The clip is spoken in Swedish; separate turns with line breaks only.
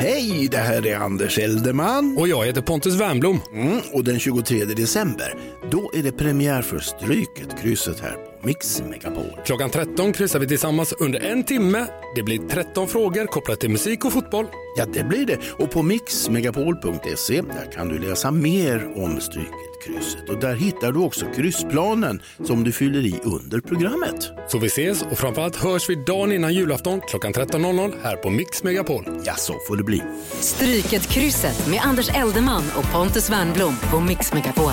Hej, det här är Anders Eldeman.
Och jag heter Pontus Wernbloom.
Mm, och den 23 december, då är det premiär för Stryket, krysset här på Mix Megapol.
Klockan 13 kryssar vi tillsammans under en timme. Det blir 13 frågor kopplat till musik och fotboll.
Ja, det blir det. Och på mixmegapol.se där kan du läsa mer om Stryket, krysset. Och där hittar du också kryssplanen som du fyller i under programmet.
Så vi ses och framförallt hörs vi dagen innan julafton klockan 13.00 här på Mix Megapol.
Ja, så får det bli.
Stryket krysset med Anders Eldeman och Pontus Wernblom på Mix Megapol.